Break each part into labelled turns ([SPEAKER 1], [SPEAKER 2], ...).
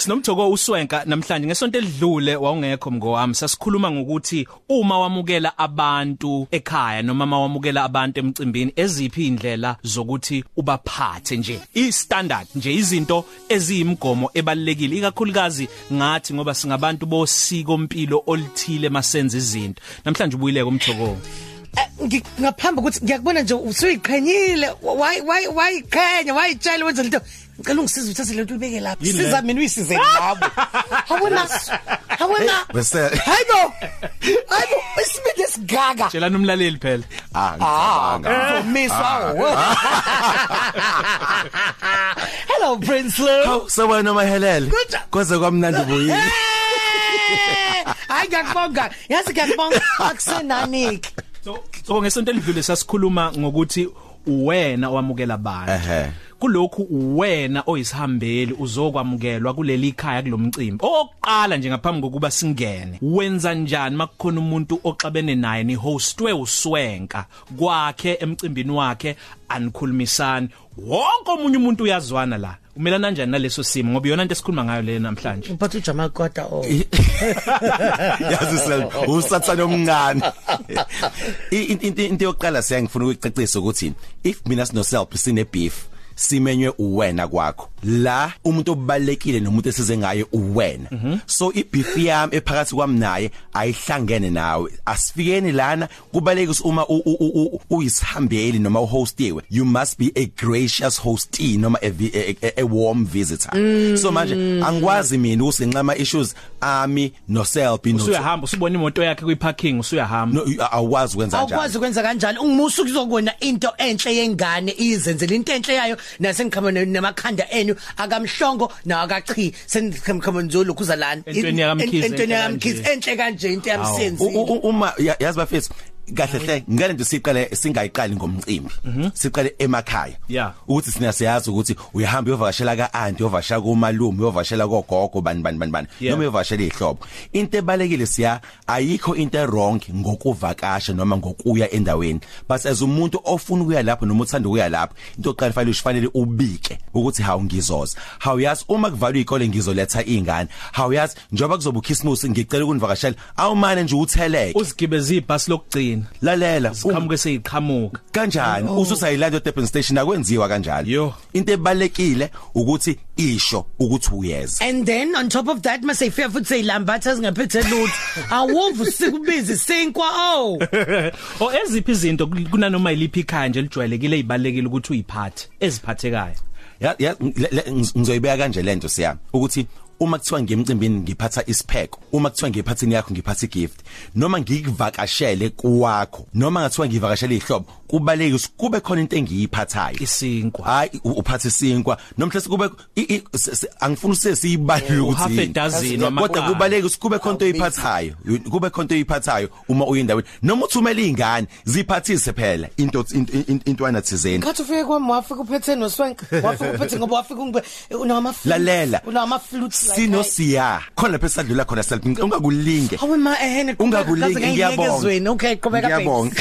[SPEAKER 1] sinomjoko uswenka namhlanje ngesonto edlule wawungekho mngowami sasikhuluma ngokuthi uma wamukela abantu ekhaya noma mawamukela abantu emcimbini eziphi indlela zokuthi ubaphathe nje istandard nje izinto eziyimgomo ebalekile ikakhulukazi ngathi ngoba singabantu bosiko impilo olithile masenze izinto namhlanje ubuyileke umjoko
[SPEAKER 2] Eh, ngi- ngaphambi ukuthi ngiyakubona nje usuyiqhenyile why why why qhenya why tshela wenza lento ngicela ungisize uthathe lento uyibeke lapha
[SPEAKER 1] Yini le?
[SPEAKER 2] siza mina uyisize ngabo awona awona
[SPEAKER 3] bese-
[SPEAKER 2] hayibo hayibo isibindi sigaga
[SPEAKER 1] tshela nomlaleli phela
[SPEAKER 3] Ah,
[SPEAKER 2] Ah,
[SPEAKER 3] ngicabanga.
[SPEAKER 2] misa. Hello Prince Lou.
[SPEAKER 3] Hawu, sawena mahelele.
[SPEAKER 2] Good.
[SPEAKER 3] Kwaze kwamnandi buyile.
[SPEAKER 2] Hayi ngiyakubonga. Yazi ngiyakubonga akusenaniki.
[SPEAKER 1] So so ngesonto elidlule sasikhuluma ngokuthi uwena owamukela abantu.
[SPEAKER 3] Ehhe.
[SPEAKER 1] Kulokhu uwena oyisihambeli uzokwamukelwa kuleli khaya kulomcimbi. Oqala nje ngaphambi kokuba singene. Wenza njani makukhona umuntu oxabene naye ni hostwe uswenka kwakhe emcimbini wakhe anikhulumisani. Wonke omunye umuntu uyazwana la. Umelana kanjani naleso simo ngoba iyona into esikhuluma ngayo le namhlanje.
[SPEAKER 2] Uphatha uJamal Kota oh.
[SPEAKER 3] Yazi sel, usathana omncane. I- in- in- Into yokuqala siya ngifuna ukuyicacisa ukuthi if mina sino self sine beef simenywe uwena kwakho la umuntu obalekile nomuntu esize ngaye uwena
[SPEAKER 2] Mm-hmm.
[SPEAKER 3] so ibeef yami ephakathi kwami naye ayihlangene nawe asifikeni lana kubaleke ukuthi uma u- u- u- u- uyisihambeli noma uhostiwe you must be a gracious hostee noma a, vi- a, a, a warm visitor so manje angikwazi mina usinxama issues ami no self
[SPEAKER 1] Usuyahamba usubona imoto yakhe kwiparking usuyahamba.
[SPEAKER 3] no awazi kwenza
[SPEAKER 2] Awukwazi
[SPEAKER 3] njalo
[SPEAKER 2] ukwenza kanjalo. Ungimusa ukuzokubona into enhle yengane izenzele into enhle yayo nasengikhamba namakhanda enu akamhlongo nawakachi. Sengikhamba nje lokhu za lana.
[SPEAKER 1] Entweni yakamkhize,
[SPEAKER 2] Entweni
[SPEAKER 1] enhle
[SPEAKER 2] yakamkhize
[SPEAKER 1] kanje.
[SPEAKER 2] enhle kanje into
[SPEAKER 3] U-
[SPEAKER 2] yamsenzi.
[SPEAKER 3] u- u- uma ya- yazi bafethu kahle hle ngale nto siqale singayiqali ngomcimbi siqale emakhaya
[SPEAKER 1] Yeah.
[SPEAKER 3] ukuthi sina siyazi ukuthi uyahamba uyovakashela ka aunty uyovashela kumalume uyovashela kogogo bani bani bani bani
[SPEAKER 1] Yeah.
[SPEAKER 3] noma uyovashela ihlobo into ebalekile siya ayikho into wrong ngokuvakasha noma ngokuya endaweni but as umuntu ofuna ukuya lapho noma uthanda ukuya lapho into oqala fanele ushifanele ubike ukuthi hawu ngizoza hawu yazi uma kuvalwe ikole ngizoletha ingane hawu yazi njengoba kuzoba ukhisimusi ngicela ukunivakashela awumane nje utheleke
[SPEAKER 1] Uzigibeza ibhasi lokugcina.
[SPEAKER 3] lalela
[SPEAKER 1] Siqhamuke seyiqhamuka.
[SPEAKER 3] kanjani ususayilanda eDurban station akwenziwa kanjalo
[SPEAKER 1] Yo.
[SPEAKER 3] into ebalekile ukuthi isho ukuthi uyeza
[SPEAKER 2] And then on top of that mase ifia futhi seyilambatha singaphethe lutho. Awuvu sikubizi sinkwa oh.
[SPEAKER 1] O eziphi izinto kunanoma yiliphi ikhaya nje lijwayelekile ezibalekile ukuthi uyiphathe eziphathekayo.
[SPEAKER 3] Ya- ya- le- le- ngiz- ngizoyibeka kanje lento siya ukuthi uma kuthiwa ngemcimbini ngiphatha isipheko uma kuthiwa ngiphathini yakho ngiphatha igift noma ngikuvakashele kuwakho noma ngathiwa ngivakashele ihlobo kubaleki kube khona into engiyiphathayo
[SPEAKER 1] Isinkwa.
[SPEAKER 3] hayi u- uphathe isinkwa nomhle sikube i- i- se- se- angifuni sesiyibalule
[SPEAKER 1] Oh,
[SPEAKER 3] ukuthi
[SPEAKER 1] half a
[SPEAKER 3] yini.
[SPEAKER 1] dozen
[SPEAKER 3] kodwa
[SPEAKER 1] wamaqanda.
[SPEAKER 3] kubaleki sikube khona into oyiphathayo kube khona into oyiphathayo uma uyindaweni noma uthumela ingane ziphathise phela into into- into- intwana thizeni
[SPEAKER 2] Ngathi ufike kwami wafika uphethe noswenk. Wafika uphethe ngoba wafika ungibe unama flute.
[SPEAKER 3] lalela
[SPEAKER 2] Unama flute
[SPEAKER 3] sino siya khona lapho esadlula khona self ungakulinge
[SPEAKER 2] Hawe ma ehene
[SPEAKER 3] ungakulingi ngiyabonga
[SPEAKER 2] Okay qhubeka Bhensi.
[SPEAKER 3] ngiyabonga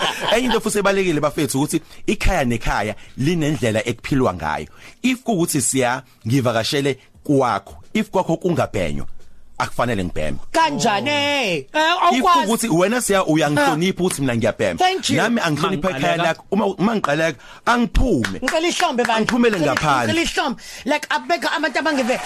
[SPEAKER 3] enye into futhi ebalekile bafethu ukuthi ikhaya nekhaya linendlela ekuphilwa ngayo if kuukuthi siya ngivakashele kwakho if kwakho kungabhenywa akufanele ngibheme
[SPEAKER 2] kanjani eh
[SPEAKER 3] if
[SPEAKER 2] awukwazi
[SPEAKER 3] ukuthi wena siya uyangihlonipha ukuthi mina ngiyabhema
[SPEAKER 2] Thank you.
[SPEAKER 3] nami angihlonipha
[SPEAKER 1] Mangiqaleka.
[SPEAKER 3] ikhaya lakho uma uma ngiqaleka angiphume
[SPEAKER 2] ngicela ihlombe bani
[SPEAKER 3] Angiphumele ngaphandle.
[SPEAKER 2] ngicela ihlombe like abeka abantu abangive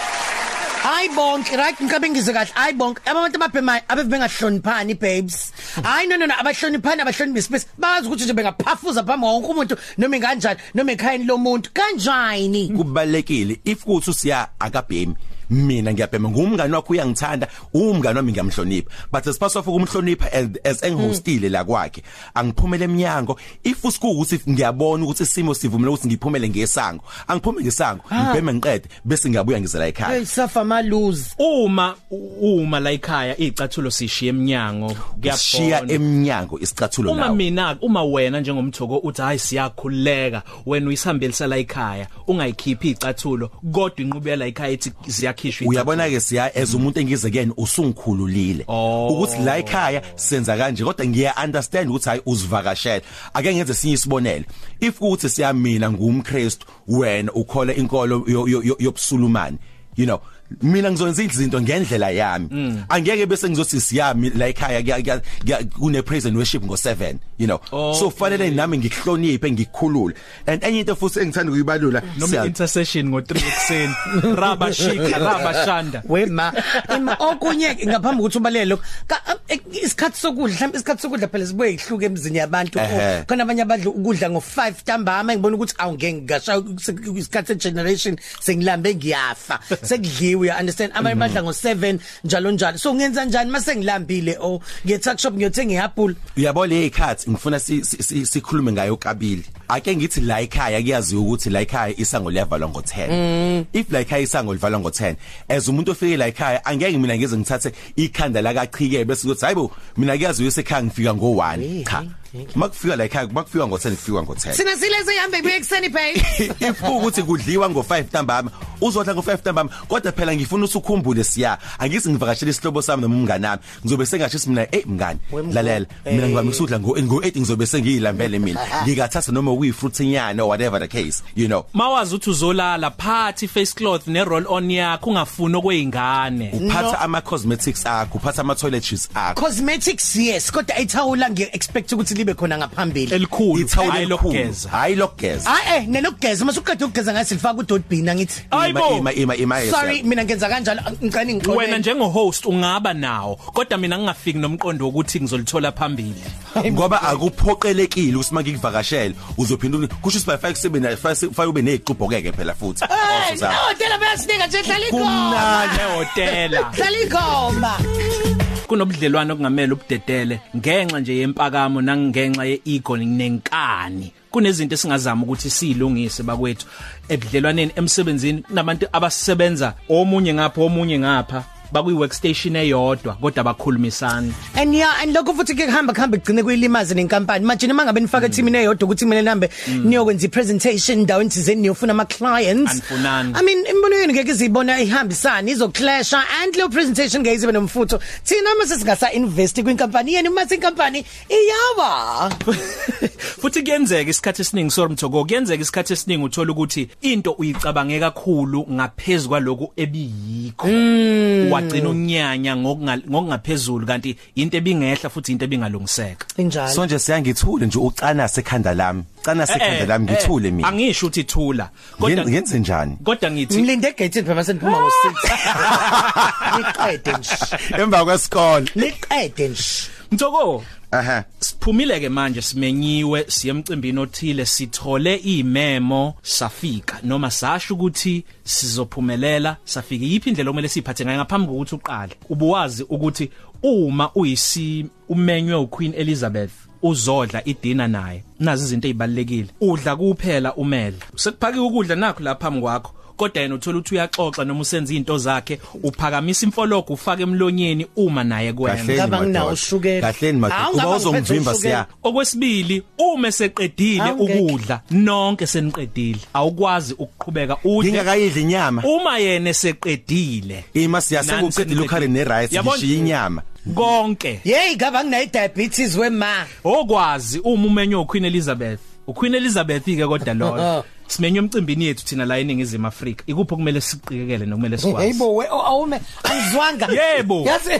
[SPEAKER 2] Hayi bonke right ngicabe ngizwe kahle hayi bonke abantu ababhemayo abebengahloniphani babes hayi no no no abahloniphani abahloniphi space bazi ukuthi nje bengaphafuza phambi wonke umuntu noma kanjani noma ekhayeni lomuntu kanjani
[SPEAKER 3] kubalekile if kuthi usiya akabhemi mina ngiyabhema ngumngani wakho uyangithanda umngani wami ngiyamhlonipha but asiphaso ukumhlonipha and- as engihostile la kwakhe angiphumele eminyango if usiku ukuthi ngiyabona ukuthi isimo sivumela ukuthi ngiphumele ngesango angiphume ngesango ngibheme ngiqede bese ngiyabuya ngizela
[SPEAKER 2] hey
[SPEAKER 3] ekhaya
[SPEAKER 2] safa maluze
[SPEAKER 1] Uma u- uma la ekhaya izicathulo sishiya eminyango
[SPEAKER 3] sishiya
[SPEAKER 1] kuyabona.
[SPEAKER 3] eminyango isicathulo
[SPEAKER 1] Uma
[SPEAKER 3] nawo
[SPEAKER 1] mina uma wena njengomthoko uthi hayi siyakhuleka wena uyisihambelisa la ekhaya ungayikhiphi izicathulo kodwa inqubela la ekhaya ethi ziyakhishwa
[SPEAKER 3] uyabona ke siya as umuntu engizekene usungikhululile
[SPEAKER 1] Oh.
[SPEAKER 3] ukuthi la ekhaya senza kanje kodwa ngiya understand ukuthi hayi uzivakashela ake ngenze sinye isibonelo if kuthi siya mina ngumkristu wena ukhole inkolo yo- yo- yo- yobusulumani you know mina ngizonza izinto ngendlela
[SPEAKER 1] Mm.
[SPEAKER 3] yami angeke bese ngizothi siyami la ekhaya kuya- kuya- kuya- kune praise and worship ngo7 you know
[SPEAKER 1] Oh.
[SPEAKER 3] so fanele nami ngihloniphe ngikhulule and enye into futhi engithanda ukuyibalula
[SPEAKER 1] noma
[SPEAKER 3] siya-
[SPEAKER 1] intercession ngo3 ekseni raba shika raba shanda
[SPEAKER 2] wema Ima, okunye ngaphambi ukuthi ubalele lokho ka- eh, isikhathi sokudla mhlawumbe isikhathi sokudla phela sibuye ihluke emzini yabantu
[SPEAKER 3] Ehhe.
[SPEAKER 2] Oh, khona abanye abadla ukudla ngo5 ntambama ngibona ukuthi awungeke ngasha isikhathi se generation sengilambe ngiyafa sekudliwe you understand abanye badla ngo7 njalo njalo so ngenza njani oh, mase ngilambile o ngiyethack shop ngiyothenga iapple
[SPEAKER 3] uyabo le ikhathi ngifuna si- si- si- sikhulume ngayo kabili ake ngithi la ekhaya kuyaziwa ukuthi la ekhaya isango liyavalwa ngo10 if la ekhaya isango livalwa ngo10 as umuntu ofike la ekhaya angeke mina ngize ngithathe ikhanda la kaqhike bese kuthi hayibo mina kuyaziwa esekhaya ngifika ngo1 cha makufika la ekhaya makufika ngo10 kufika ngo10
[SPEAKER 2] sina sileze ihambe ibuye ekseni phela
[SPEAKER 3] if ukuthi kudliwa ngo5 ntambama uzodla ngo5 ntambama kodwa phela ngifuna ukuthi ukhumbule siya angisi ngivakashela isihlobo sami noma umngane nami ngizobe sengasho ukuthi mina hey mngane
[SPEAKER 2] Wemngane.
[SPEAKER 3] lalela mina ngivame
[SPEAKER 2] Eh.
[SPEAKER 3] ukusudla ngo ngo8 ngizobe sengiyilambele mina ngikathatha noma uyifruit inyana or whatever the case you know
[SPEAKER 1] mawazi uthi uzolala phathi face cloth ne roll on yakho ungafuni okwezingane
[SPEAKER 3] uphatha ama cosmetics akho uphatha ama toiletries akho
[SPEAKER 2] cosmetics yes kodwa ithawula ngiye expect ukuthi libe khona ngaphambili
[SPEAKER 1] elikhulu
[SPEAKER 3] ithawula
[SPEAKER 1] hayi
[SPEAKER 3] elikhulu.
[SPEAKER 1] lokugeza
[SPEAKER 3] hayi lokugeza
[SPEAKER 2] Ah eh nelokugeza masuqeda ukugeza ngasilifaka udotbin angithi
[SPEAKER 1] Ayibo.
[SPEAKER 3] ima ima ima yes,
[SPEAKER 2] Ah, sorry
[SPEAKER 3] yeah.
[SPEAKER 2] mina ngenza kanjalo ngicane ngixolele
[SPEAKER 1] wena njengohost ungaba nawo kodwa mina ngingafiki nomqondo wokuthi ngizolithola phambili
[SPEAKER 3] ngoba akuphoqelekile ukuthi mangikuvakashele uzophinda uni- kusho ukuthi by 5 7 5 ube neziqubhokeke phela futhi
[SPEAKER 2] Hey,
[SPEAKER 3] Also,
[SPEAKER 2] no, tela bayasinika nje hlala igoma.
[SPEAKER 3] kumnandi
[SPEAKER 1] ehotela
[SPEAKER 2] Hlala igoma.
[SPEAKER 1] kunobudlelwano okungamele ubudedele ngenxa nje yempakamo nangenxa yeego nenkani kunezinto esingazama ukuthi silungise bakwethu ebudlelwaneni emsebenzini kunabantu abasebenza omunye ngapha omunye ngapha bakuyi workstation eyodwa kodwa bakhulumisana
[SPEAKER 2] And yeah, and lokho futhi ke kuhamba kuhamba kugcine kuyilimaza nenkampani. Manje noma ngabe nifaka team ineyodwa ukuthi kumele nihambe
[SPEAKER 3] Mm.
[SPEAKER 2] niyokwenza ipresentation ndaweni thizeni niyofuna ama clients.
[SPEAKER 1] Anifunani.
[SPEAKER 2] I mean, imbono yenu ngeke izibona ihambisana, izoclasha and leyo presentation ngeke izibe nomfutho. Thina mase singasa invest kwinkampani yenu, mase inkampani iyawa.
[SPEAKER 1] futhi kuyenzeka isikhathi esiningi sorry mthoko kuyenzeka isikhathi esiningi uthola ukuthi into uyicabange kakhulu ngaphezulu kwaloko ebiyikho wagcina unyanya ngokunga- ngokungaphezulu kanti into ebingehla futhi into ebingalungiseka
[SPEAKER 2] Injalo.
[SPEAKER 3] so nje siyangithule nje ucana sekhanda lami
[SPEAKER 2] Eh,
[SPEAKER 3] cana sekhanda lami ngithule mina
[SPEAKER 1] Eh, angisho ukuthi thula
[SPEAKER 3] Ngen- ngenze njani
[SPEAKER 1] kodwa ngithi
[SPEAKER 2] Ngilinde egate phela mase niphuma ngo6. Liqede nje.
[SPEAKER 3] emva kwesikole
[SPEAKER 2] Liqede nje.
[SPEAKER 1] mthoko
[SPEAKER 3] aha
[SPEAKER 1] siphumile ke manje simenyiwe siyemcimbini othile sithole imemo safika noma sasho ukuthi sizophumelela safika yiphi indlela okumele siphathe ngayo ngaphambi kokuthi uqale ubuwazi ukuthi uma uyisi umenywe uQueen Elizabeth uzodla idina naye nazi izinto ezibalekile udla kuphela umela sekuphakike ukudla nakho lapha phambi kwakho kodwa yena uthola ukuthi uyaxoxa noma usenza izinto zakhe uphakamisa imfologo ufake emlonyeni uma naye kwenza
[SPEAKER 3] kahleni
[SPEAKER 2] Ngicabanga nginawo
[SPEAKER 3] madoda.
[SPEAKER 2] ushukela.
[SPEAKER 3] kahleni madoda
[SPEAKER 2] Hawu,
[SPEAKER 3] kuba
[SPEAKER 2] ngicabanga
[SPEAKER 3] uzongivimba
[SPEAKER 2] ngiphethe
[SPEAKER 3] siya
[SPEAKER 1] okwesibili uma seqedile
[SPEAKER 2] Awungeke.
[SPEAKER 1] ukudla nonke seniqedile awukwazi ukuqhubeka udle
[SPEAKER 3] ngingakayidli inyama
[SPEAKER 1] uma yena seqedile
[SPEAKER 3] ima siya
[SPEAKER 1] Nani
[SPEAKER 3] sekuqedile
[SPEAKER 1] seniqedile.
[SPEAKER 3] ukhale nerice
[SPEAKER 1] Yabona-
[SPEAKER 3] ngishiya inyama
[SPEAKER 1] konke
[SPEAKER 2] Yey gaba nginayi diabetes wema.
[SPEAKER 1] okwazi uma umenye uQueen Elizabeth uQueen Elizabeth ke kodwa lona simenye emcimbini yethu thina la eningizimu Afrika ikuphi kumele siqikekele nokumele sikwazi
[SPEAKER 2] Yebo we oh, awume angizwanga.
[SPEAKER 1] Yebo.
[SPEAKER 2] Yazi.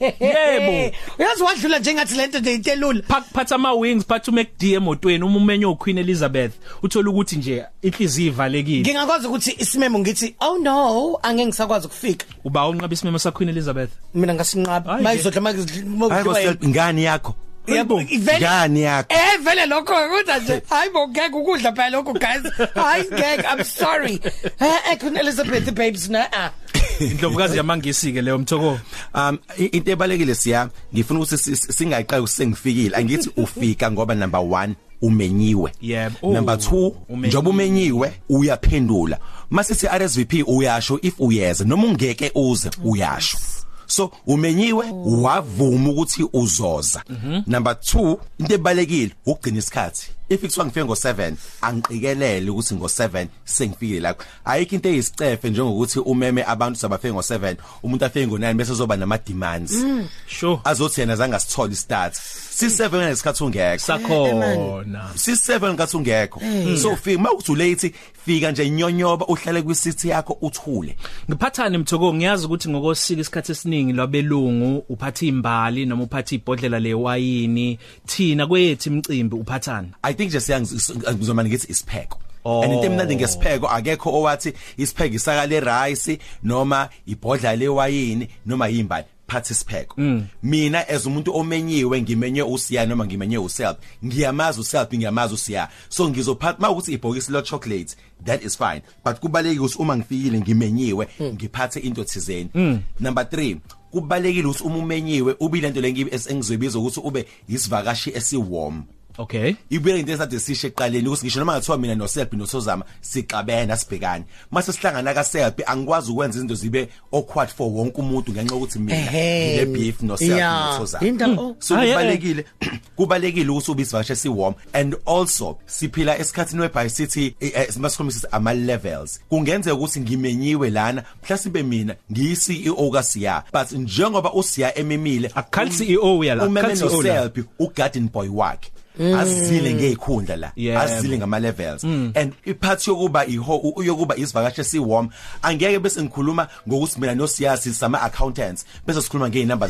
[SPEAKER 1] Yebo.
[SPEAKER 2] Uyazi wadlula njengathi lento nje itelula.
[SPEAKER 1] phakuphatha ama wings phatha uMcD emotweni uma umenye uQueen Elizabeth uthola ukuthi nje inhliziyo ivalekile
[SPEAKER 2] Ngingakwazi ukuthi isimemo ngithi oh no angeke ngisakwazi ukufika.
[SPEAKER 1] uba unqaba isimemo sa Queen Elizabeth
[SPEAKER 2] Mina ngasinqaba.
[SPEAKER 1] Hayi,
[SPEAKER 2] Mayizodla
[SPEAKER 3] hayi
[SPEAKER 2] makuzidliwa.
[SPEAKER 3] bosel ngani yakho
[SPEAKER 2] Yebo.
[SPEAKER 3] ngani yakho
[SPEAKER 2] Eh vele lokho kodwa nje hayi bo ngeke ukudla phela lokho guys. Hayi ngeke I'm sorry. Eh ekhona Elizabeth babes na. ah.
[SPEAKER 1] indlovukazi yamangisi ke leyo mthoko
[SPEAKER 3] um i- into ebalekile siya ngifuna ukuthi si- si- singaqali sengifikile angithi ufika ngoba number 1 umenyiwe
[SPEAKER 1] Yebo. Oh.
[SPEAKER 3] number 2
[SPEAKER 1] Umenyiwe.
[SPEAKER 3] njengoba umenyiwe uyaphendula mase si RSVP uyasho if uyeza noma ungeke uze uyasho so umenyiwe wavuma ukuthi uzoza number 2 into ebalekile ugcina isikhathi if ikuthiwa ngifike ngo7 angiqikelele ukuthi ngo7 sengifikile lakho ayikho into eyisicefe njengokuthi umeme abantu sabafike ngo7 umuntu afike ngo9 bese zoba nama demands
[SPEAKER 1] sure
[SPEAKER 3] azothi yena zange asithole start si7 ngesikhathi ungekho
[SPEAKER 1] sakhona
[SPEAKER 3] si7 ngathi ungekho so fika mawuthi late fika nje nyonyoba uhlale kwisithi yakho uthule
[SPEAKER 1] ngiphathane mthoko ngiyazi ukuthi ngokosika isikhathi esiningi lwabelungu uphatha imbali noma uphatha ibhodlela lewayini thina kwethi imcimbi uphathane
[SPEAKER 3] I think just ngizomani uh, ngithi isipheko
[SPEAKER 1] Oh.
[SPEAKER 3] and into emnandi ngesipheko akekho owathi isipheko isaka le rice noma ibhodla le wayini noma yimbali phathi isipheko mina as umuntu omenyiwe ngimenye usiya noma ngimenye uself ngiyamazi uself ngiyamazi usiya so ngizophatha mawukuthi ibhokisi lo chocolate that is fine but kubalekile ukuthi uma ngifikile ngimenyiwe ngiphathe into thizeni number 3 kubalekile ukuthi uma umenyiwe ubilento lengibe engizoyibiza ukuthi ube isivakashi esiwarm
[SPEAKER 1] okay
[SPEAKER 3] ibuye into esade sisho eqaleni ukuthi ngisho noma ngathiwa mina noselbi nosozama sixabene asibhekane mase sihlangana kaselbi angikwazi ukwenza izinto zibe awkward for wonke umuntu ngenxa yokuthi mina
[SPEAKER 2] Ehhe.
[SPEAKER 3] ngile beef noselbi
[SPEAKER 2] Yeah.
[SPEAKER 3] nosozama
[SPEAKER 2] Into- oh.
[SPEAKER 3] so
[SPEAKER 1] Ah, yeah,
[SPEAKER 3] kubalekile kubalekile ukuthi ube isivashe siwarm and also siphila esikhathini webhay sithi masikhombisa ama levels kungenzeka ukuthi ngimenyiwe lana mhlasibe mina ngiyi CEO kaSiya but njengoba uSiya ememile
[SPEAKER 1] Akukhali CEO uya la,
[SPEAKER 3] umeme
[SPEAKER 1] akukhali CEO la.
[SPEAKER 3] noselbi ugarden boy wakhe azile ngeikhundla la
[SPEAKER 1] Yebo.
[SPEAKER 3] azile ngama levels and iphathi yokuba iho u- yokuba isivakashi siwarm angeke bese ngikhuluma ngokuthi mina noSiyasi sama accountants bese sikhuluma ngeinamba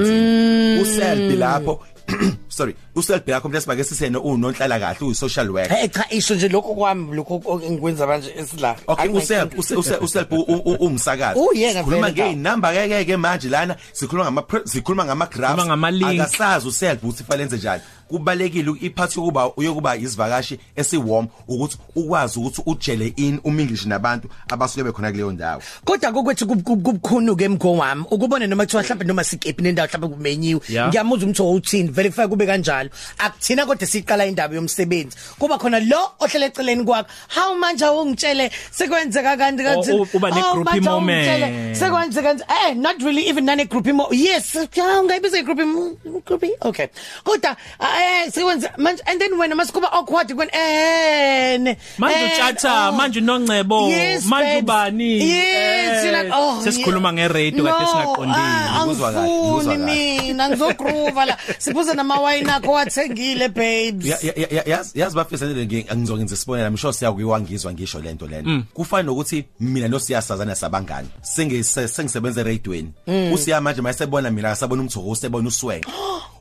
[SPEAKER 3] zasemsebenzini uselbi lapho sorry uselbi lapho mhlawumbe bese sisene unonhlala kahle uyisocial worker
[SPEAKER 2] hey cha isho nje lokho kwami lokho o- engikwenza manje esila
[SPEAKER 3] Okay
[SPEAKER 2] Hhayi,
[SPEAKER 3] usep use- use- usep u- u- u- ungisakaza.
[SPEAKER 2] Oh, yena
[SPEAKER 3] Sikhuluma
[SPEAKER 2] vele,
[SPEAKER 3] ngeinamba keke ke manje lana sikhuluma ngama pre- sikhuluma ngama graphs.
[SPEAKER 1] Sikhuluma ngama-link.
[SPEAKER 3] Akasazi usep ukuthi falenze njani. Kubalekile iphathi yokuba uyokuba isivakashi esiwarm ukuthi ukwazi ukuthi ujele in uminglish nabantu abasuke bekhona kuleyo ndawo.
[SPEAKER 2] kodwa kokwethu kubukhunu ke mkho wami ukubone noma kuthiwa mhlawumbe noma sikephi nendawo mhlawumbe kumenyiwe
[SPEAKER 1] Yeah.
[SPEAKER 2] ngiyamuza umtho uthini verify kube kanjalo akuthina kodwa siqala indaba yomsebenzi kuba khona lo ohlele eceleni kwakho hawu manje awungitshele sekwenzeka kanti kanti
[SPEAKER 1] Oh, u- uba ne-
[SPEAKER 2] Hawu,
[SPEAKER 1] groupie
[SPEAKER 2] manje
[SPEAKER 1] moment.
[SPEAKER 2] awungitshele, sekwenzeka kanti eh not really even nane groupie mo yes hawu ngayibiza i groupie groupie okay kodwa eh sekwenze manje and then wena masikuba awkward kwen eh
[SPEAKER 1] manje
[SPEAKER 2] and,
[SPEAKER 1] utshata
[SPEAKER 2] oh.
[SPEAKER 1] manje unongcebo
[SPEAKER 2] Yes,
[SPEAKER 1] manje
[SPEAKER 2] babes.
[SPEAKER 1] ubani Eh,
[SPEAKER 2] Yes, you're like oh. ah,
[SPEAKER 1] sesikhuluma ngeradio kade singaqondile
[SPEAKER 3] Ngikuzwa kahle,
[SPEAKER 2] Angifuni
[SPEAKER 3] ngikuzwa kahle.
[SPEAKER 2] mina ngizogruva la. Siphuze namawine akho wathengile babes.
[SPEAKER 3] Ya- ya- ya- ya- yazi yazi bafisele ngizokwenza isibonelo I'm sure siya kuyiwangizwa ngisho lento lento kufana nokuthi mina nosiyasazana sabangani sengise sengisebenza eradweni usiya manje mayesebona mina akasabona umthoko usebona uswenge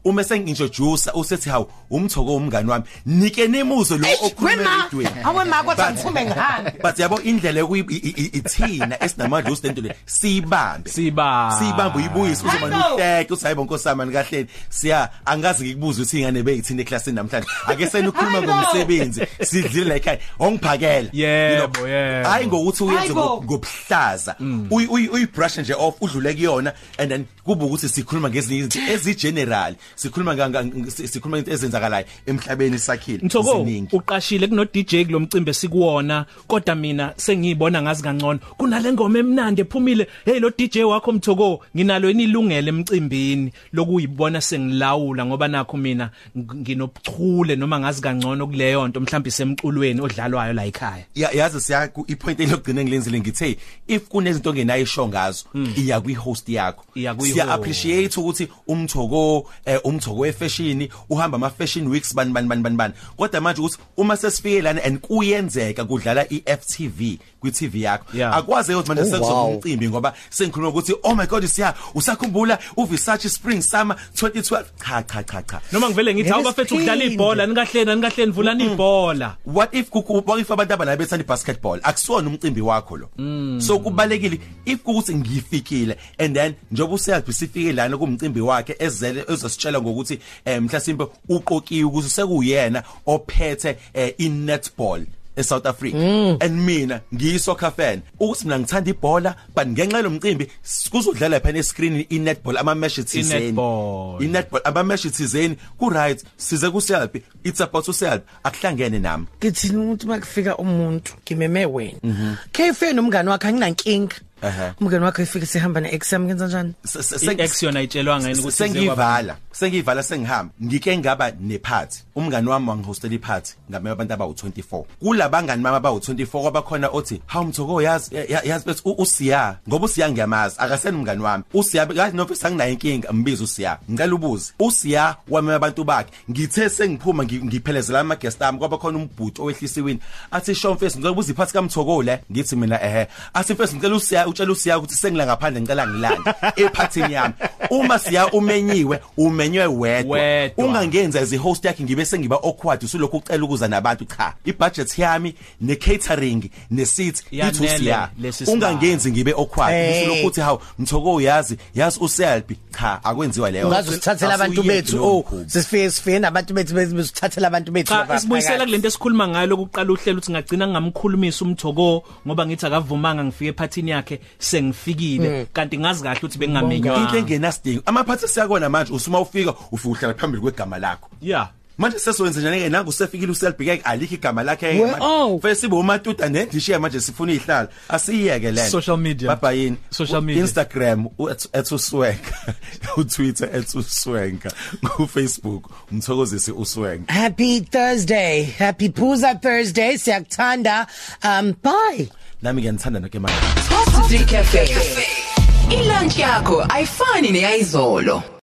[SPEAKER 3] uma sengintroduce usethi hawu umthoko umngani wami nike nemuzo lo
[SPEAKER 2] Eish,
[SPEAKER 3] okhuluma
[SPEAKER 2] wema.
[SPEAKER 3] eradweni
[SPEAKER 2] Hawe ma kodwa
[SPEAKER 3] But-
[SPEAKER 2] ngithume ngihambe.
[SPEAKER 3] but yabo indlela yokuyi- i- i- i- ithina esinamadlu lento le siyibambe
[SPEAKER 1] Sibambe.
[SPEAKER 3] siyibambe uyibuyise
[SPEAKER 2] I
[SPEAKER 3] uzomani
[SPEAKER 2] know.
[SPEAKER 3] uhleke uthi hayibo nkosi yami kahleni siya angazi ngikubuza ukuthi ingane beyithini eklasini namhlanje ake sena
[SPEAKER 2] I
[SPEAKER 3] ukhuluma
[SPEAKER 2] know.
[SPEAKER 3] ngomsebenzi sidlile la ekhaya ongiphakela
[SPEAKER 1] Yebo,
[SPEAKER 3] You know,
[SPEAKER 1] yebo.
[SPEAKER 3] hayi ngokuthi uyenze
[SPEAKER 2] Hayibo.
[SPEAKER 3] ngo- ngobuhlaza Uyi- uyi- uyibrush nje off udlule kuyona and then kuba ukuthi sikhuluma ngezinye izinto ezigeneral sikhuluma nga- nga- ng- si- sikhuluma into ezenzakalayo emhlabeni sakhile
[SPEAKER 1] Mthoko
[SPEAKER 3] ziningi.
[SPEAKER 1] uqashile kuno DJ kulomcimbi sikuwona kodwa mina sengiyibona ngazi kangcono kunale ngoma emnandi ephumile hey lo DJ wakho Mthoko nginalo yini ilungele emcimbini lokuyibona sengilawula ngoba nakho mina ng- nginobuchule noma ngazi kangcono kuleyo nto mhlawumbe semculweni odlalwayo la ekhaya
[SPEAKER 3] Ya- yazi siya ku- ipoint elogcina ngilenzile ngithe if kunezinto ongenayisho ngazo iya kwihost yakho
[SPEAKER 1] Hmm. Iya kwi-
[SPEAKER 3] siya appreciate ukuthi umthoko eh, umthoko wefashion uhamba ama fashion weeks bani bani bani bani bani kodwa manje ukuthi uma sesifike lana and kuyenzeka kudlala iFTV kwi TV yakho
[SPEAKER 1] Yeah.
[SPEAKER 3] akwazi ukuthi manje
[SPEAKER 2] Oh, wow.
[SPEAKER 3] sengizomcimbi ngoba sengikhuluma ukuthi oh my god siya usakhumbula uVisachi spring summer 2012 cha cha cha cha
[SPEAKER 1] noma ngivele ngithi
[SPEAKER 2] Yebo,
[SPEAKER 1] awubafethu udlala
[SPEAKER 2] isiphinde.
[SPEAKER 1] ibhola nikahleni nikahleni vulani ibhola
[SPEAKER 3] what if kuku what if abantu abana bethanda ibasketball akusona umcimbi wakho lo so kubalekile if ukuthi ngifikile and then njengoba uself sifikile lana kumcimbi wakhe ezele ezositshela ngokuthi eh, mhlasimbe uqokiwe ukuthi sekuyena ophethe eh, in netball e South Africa and mina ngiyisoccer fan ukuthi mina ngithanda ibhola but ngenxa lomcimbi kuzodlala phela escreen i netball ama match thizeni
[SPEAKER 1] I-netball.
[SPEAKER 3] i netball ama match thizeni ku right size ku self it's about self akuhlangene nami
[SPEAKER 1] Mhm.
[SPEAKER 2] Ngithini ukuthi makufika umuntu ngimeme wena. KFA nomngane wakhe anginankinga. umngeni wakho efike sihamba ne-exam kenza njani
[SPEAKER 3] Se- se- se-
[SPEAKER 1] i-ex yona itshelwa ngani ukuthi
[SPEAKER 3] sengiyivala sengiyivala sengihamba ngike ngaba nephathi umngani wami wangihostela iphathi ngame abantu abawu24 kulabangani mama abawu24 kwabakhona othi hawu mthoko yazi ya- ya- yazi bese u- usiya ngoba usiya ngiyamazi akaseni umngani wami usiya kazi nofisa anginayo inkinga mbiza usiya ngicela ubuze usiya wami abantu bakhe ngithe sengiphuma ngi- ngiphelezela ama guest ami kwabakhona umbhuti owehlisiwini athi show mfethu ngicela ubuza iphathi kamthoko le ngithi mina ehe athi mfethu ngicela usiya utshela usiya ukuthi sengila ngaphandle ngicela ngilande ephathini yami uma siya umenyiwe umenywe wedwa
[SPEAKER 1] Wedwa.
[SPEAKER 3] ungangenza as host yakhe ngibe sengiba awkward usulokhu ucela ukuza nabantu cha ibudget yami ne catering ne seats ithu
[SPEAKER 1] Yanele
[SPEAKER 3] siya
[SPEAKER 1] lesi sibalo.
[SPEAKER 3] ungangenzi ngibe awkward
[SPEAKER 2] Hey.
[SPEAKER 3] usulokhu uthi hawo mthoko uyazi yazi uselbi cha akwenziwa leyo
[SPEAKER 2] ungaze usithathela abantu
[SPEAKER 3] Asuyeki
[SPEAKER 2] bethu
[SPEAKER 3] lowo
[SPEAKER 2] oh
[SPEAKER 3] mkhuba.
[SPEAKER 2] sesifike sifike nabantu bethu beze bezithathela abantu bethu
[SPEAKER 1] cha
[SPEAKER 2] lapha
[SPEAKER 1] isibuyisela
[SPEAKER 2] phakathi.
[SPEAKER 1] kulento esikhuluma ngayo lokuqala uhlelo ukuthi ngagcina ngingamkhulumisa umthoko ngoba ngithi akavumanga ngifike ephathini yakhe
[SPEAKER 2] Mm.
[SPEAKER 1] sengifikile kanti ngazi kahle ukuthi
[SPEAKER 3] into
[SPEAKER 1] bengamenywa
[SPEAKER 3] engenasidingo amaphathi siyakona manje usuma ufika ufika uhlala phambili kwegama lakho
[SPEAKER 1] yeah
[SPEAKER 3] manje sesowenze njani ke nangu sefikile uselbheke alikho igama lakhe
[SPEAKER 2] We- oh.
[SPEAKER 3] manje sibe umatuta nendishiya manje sifuna ihlala asiyeke lento
[SPEAKER 1] Social media.
[SPEAKER 3] baba yini
[SPEAKER 1] Social
[SPEAKER 3] U-
[SPEAKER 1] media.
[SPEAKER 3] Instagram @uswenka uTwitter @uswenka kuFacebook umthokozisi uswenka
[SPEAKER 2] Happy Thursday. Happy Pooza Thursday. Siyakuthanda. Um bye.
[SPEAKER 3] nami ngiyanithanda noke manje
[SPEAKER 4] Hot Cafe. Cafe. Ilunch yakho ayifani neyizolo.